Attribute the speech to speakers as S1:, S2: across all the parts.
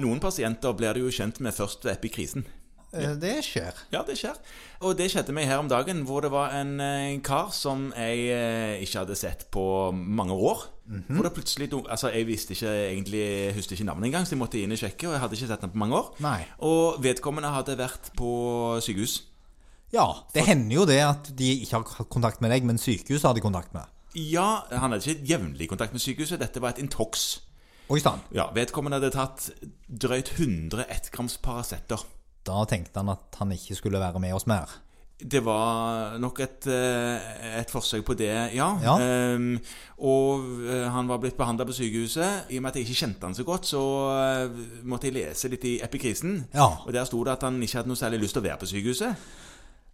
S1: Noen pasienter blir du jo kjent med først ved epikrisen.
S2: Eh, Det skjer.
S1: Ja, det skjer. Og det skjedde meg her om dagen, hvor det var en eh, kar som jeg eh, ikke hadde sett på mange år. Hvor det plutselig dunk- Altså, jeg visste ikke egentlig jeg husket ikke navnet engang, så jeg måtte inn og sjekke, og jeg hadde ikke sett ham på mange år.
S2: Nei.
S1: Og vedkommende hadde vært på sykehus.
S2: Ja, det hender jo det at de ikke har kontakt med deg, men sykehuset har de kontakt med.
S1: Ja, han hadde ikke jevnlig kontakt med sykehuset, dette var et intox.
S2: Oi sann.
S1: Ja, vedkommende hadde tatt drøyt 100 1-grams Paracet.
S2: Da tenkte han at han ikke skulle være med oss mer.
S1: Det var nok et, eh, et forsøk på det, ja.
S2: Ja.
S1: Ehm, og eh, han var blitt behandla på sykehuset. I og med at jeg ikke kjente han så godt, så eh, måtte jeg lese litt i epikrisen.
S2: Ja.
S1: Og der sto det at han ikke hadde noe særlig lyst til å være på sykehuset.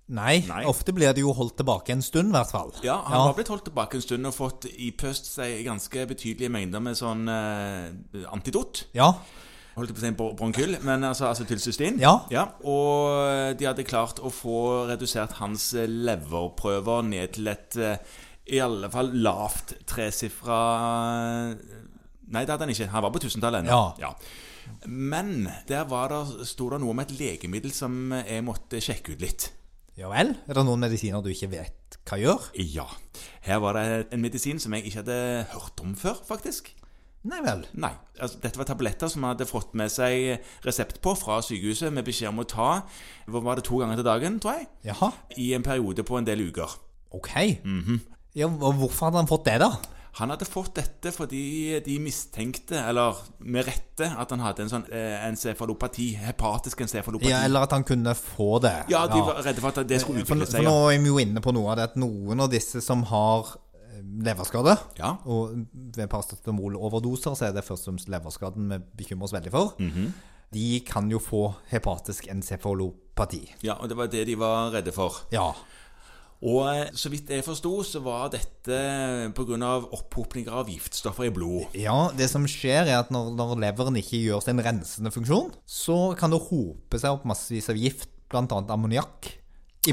S2: Nei,
S1: Nei.
S2: ofte blir det jo holdt tilbake en stund, i hvert fall.
S1: Ja, Han var blitt holdt tilbake en stund og fått ipøst seg ganske betydelige mengder med sånn eh, antidot.
S2: Ja.
S1: Holdt jeg på å si bron- bronkyl, men altså acetylcystein.
S2: Ja.
S1: Og eh, de hadde klart å få redusert hans eh, leverprøver ned til et eh, i alle fall lavt tresifra eh, Nei, det hadde han ikke. Han var på tusentallet ennå.
S2: Ja.
S1: Men der var det, sto det noe om et legemiddel som jeg måtte sjekke ut litt.
S2: Ja vel? Er det noen medisiner du ikke vet hva gjør?
S1: Ja. Her var det en medisin som jeg ikke hadde hørt om før, faktisk.
S2: Nei vel.
S1: Nei. Altså, dette var tabletter som han hadde fått med seg resept på fra sykehuset med beskjed om å ta hvor var det to ganger til dagen, tror jeg,
S2: Jaha.
S1: i en periode på en del uker.
S2: Ok.
S1: Mhm.
S2: Ja, og Hvorfor hadde han fått det, da?
S1: Han hadde fått dette fordi de mistenkte, eller med rette, at han hadde en sånn eh, encefalopati, hepatisk encefalopati.
S2: Ja, eller at han kunne få det?
S1: Ja, de var redde for at det skulle
S2: For,
S1: utvikle
S2: for
S1: seg.
S2: nå
S1: Ja.
S2: er vi jo inne på noe av det at noen av disse som har eh, leverskade
S1: Ja.
S2: Og ved paracetamoloverdoser så er det først og fremst leverskaden vi bekymrer oss veldig for.
S1: Mhm.
S2: De kan jo få hepatisk encefalopati.
S1: ja, og det var det de var redde for.
S2: Ja.
S1: Og eh, så vidt jeg forsto, så var dette pga. opphopninger av giftstoffer i blodet.
S2: ja. Det som skjer, er at når, når leveren ikke gjør sin rensende funksjon, så kan det hope seg opp massevis av gift, bl.a. ammoniakk, i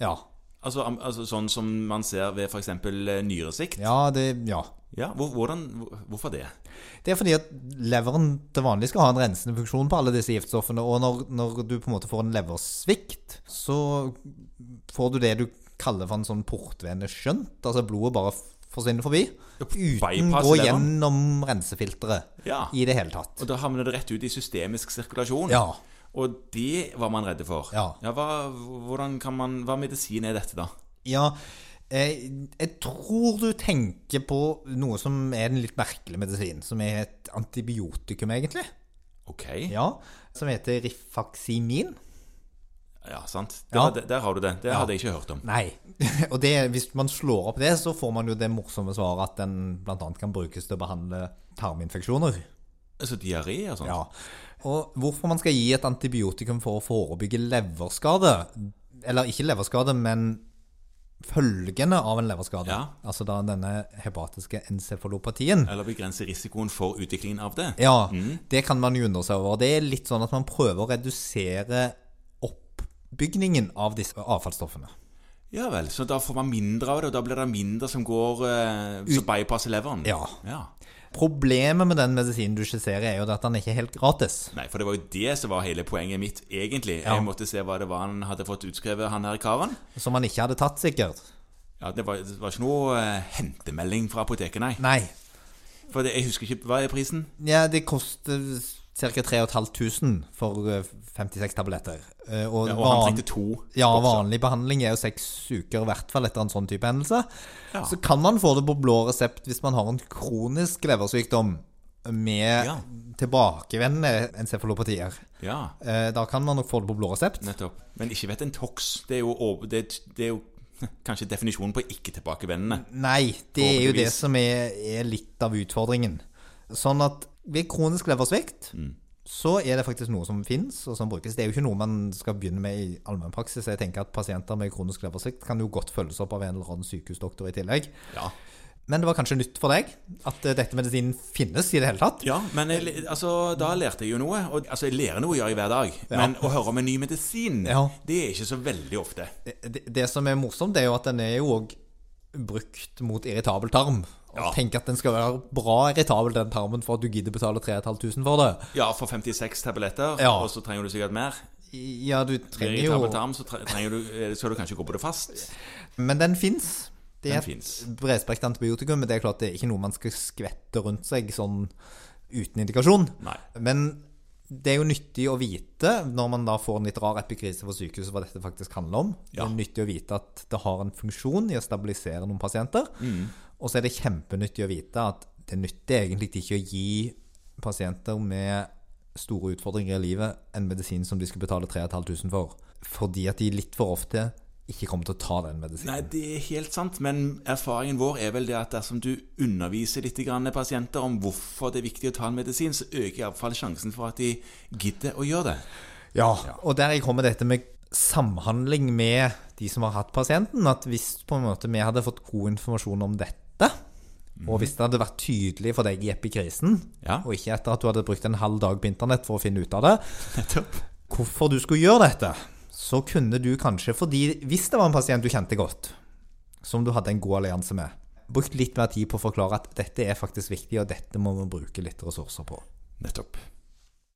S1: Ammoniakk?
S2: Ja.
S1: Altså, am- altså sånn som man ser ved eh, f.eks. nyresikt.
S2: ja, det Ja.
S1: Ja, hvor, hvordan, hvor- hvorfor det?
S2: Det er fordi at leveren til vanlig skal ha en rensende funksjon på alle disse giftstoffene, og når, når du på en måte får en leversvikt, så får du det du kaller for en sånn portveneskjønt, altså blodet bare f- forsvinner forbi, uten
S1: bypass
S2: gå
S1: leveren.
S2: gjennom rensefilteret
S1: Ja.
S2: i det hele tatt.
S1: Og da havner det rett ut i systemisk sirkulasjon.
S2: Ja.
S1: Og det var man redde for.
S2: Ja.
S1: hva, hvordan kan man, hva medisin er dette, da?
S2: Ja, eh, jeg tror du tenker på noe som er en litt merkelig medisin, som er et antibiotikum egentlig,
S1: Ok. Ja,
S2: ja, som heter rifaximin.
S1: sant. Det
S2: Ja.
S1: var- Der, der har du det. Det hadde jeg ikke hørt om.
S2: Nei. Og det, hvis man slår opp det, så får man jo det morsomme svaret at den bl.a. kan brukes til å behandle tarminfeksjoner.
S1: Altså diaré og sånt?
S2: Ja. Og hvorfor man skal gi et antibiotikum for å forebygge leverskade, eller ikke leverskade, men følgene av en leverskade,
S1: Ja.
S2: altså da denne hepatiske encefalopatien
S1: Eller begrense risikoen for utviklingen av det?
S2: Ja, det kan man jo undre seg over. Det er litt sånn at man prøver å redusere oppbygningen av disse avfallsstoffene.
S1: Ja vel. Så da får man mindre av det, og da blir det mindre som går eh, Som bypasser leveren?
S2: Ja.
S1: ja.
S2: Problemet med den medisinen du skisserer, er jo at den ikke er helt gratis.
S1: Nei, for det var jo det som var hele poenget mitt, egentlig.
S2: Ja.
S1: Jeg måtte se hva det var han hadde fått utskrevet, han her karen.
S2: Som han ikke hadde tatt, sikkert.
S1: Ja, Det var, det var ikke noe eh, hentemelding fra apoteket, nei.
S2: Nei.
S1: For det, jeg husker ikke Hva er prisen?
S2: Ja, det koster ca. 3500 for eh, 56 tabletter. Eh, Og,
S1: Ja, og han
S2: van-
S1: trengte to.
S2: ja,
S1: bokser.
S2: vanlig behandling er jo seks uker, i hvert fall etter en sånn type hendelse.
S1: Ja.
S2: Så kan man få det på blå resept hvis man har en kronisk leversykdom med
S1: Ja.
S2: tilbakevendende encefalopatier.
S1: Ja,
S2: Eh, Da kan man nok få det på blå resept.
S1: nettopp. Men ikke vet en tox. Det er jo, åp- det, det er jo kanskje definisjonen på ikke-tilbakevendende.
S2: Nei, det er jo det
S1: Forhåpentligvis.
S2: som er, er litt av utfordringen. Sånn at ved kronisk leversvikt
S1: Mm.
S2: så er det faktisk noe som finnes og som brukes. Det er jo ikke noe man skal begynne med i allmennpraksis. Jeg tenker at pasienter med kronisk leversvikt kan jo godt følges opp av en eller annen sykehusdoktor i tillegg.
S1: Ja.
S2: Men det var kanskje nytt for deg at eh, dette medisinen finnes i det hele tatt?
S1: ja, men jeg, altså, da lærte jeg jo noe. Og, altså, jeg lærer noe, gjør jeg hver dag. Men å høre om en ny medisin,
S2: Ja.
S1: det er ikke så veldig ofte.
S2: Det, det som er morsomt, det er jo at den er jo òg brukt mot irritabel tarm. Og
S1: Ja.
S2: Tenk at den skal være bra irritabel, den tarmen, for at du gidder betale 3500 for det.
S1: Ja, for 56 tabletter,
S2: Ja.
S1: og så trenger du sikkert mer.
S2: Ja, du trenger
S1: I
S2: jo
S1: tarm, så tre- trenger du, eh, skal du kanskje gå på det fast.
S2: Men den fins. Det
S1: Den
S2: er
S1: fins.
S2: bredspektet antibiotikum, men det er klart det er ikke noe man skal skvette rundt seg sånn uten indikasjon.
S1: Nei.
S2: Men det er jo nyttig å vite, når man da får en litt rar epikrise fra sykehuset, hva dette faktisk handler om. Det
S1: Ja.
S2: er nyttig å vite at det har en funksjon i å stabilisere noen pasienter. Og så er det kjempenyttig å vite at det nytter egentlig ikke å gi pasienter med store utfordringer i livet en medisin som de skal betale 3500 for. Fordi at de litt for ofte ikke kommer til å ta den medisinen.
S1: Nei, det er helt sant, men erfaringen vår er vel det at dersom du underviser litt grann pasienter om hvorfor det er viktig å ta en medisin, så øker iallfall sjansen for at de gidder å gjøre det.
S2: Ja, og der kommer dette med samhandling med de som har hatt pasienten. At hvis på en måte vi hadde fått god informasjon om dette, og hvis det hadde vært tydelig for deg i epikrisen,
S1: Ja.
S2: og ikke etter at du hadde brukt en halv dag på internett for å finne ut av det,
S1: Nettopp.
S2: hvorfor du skulle gjøre dette, så kunne du kanskje, fordi hvis det var en pasient du kjente godt, som du hadde en god allianse med, brukt litt mer tid på å forklare at dette er faktisk viktig, og dette må vi bruke litt ressurser på.
S1: Nettopp.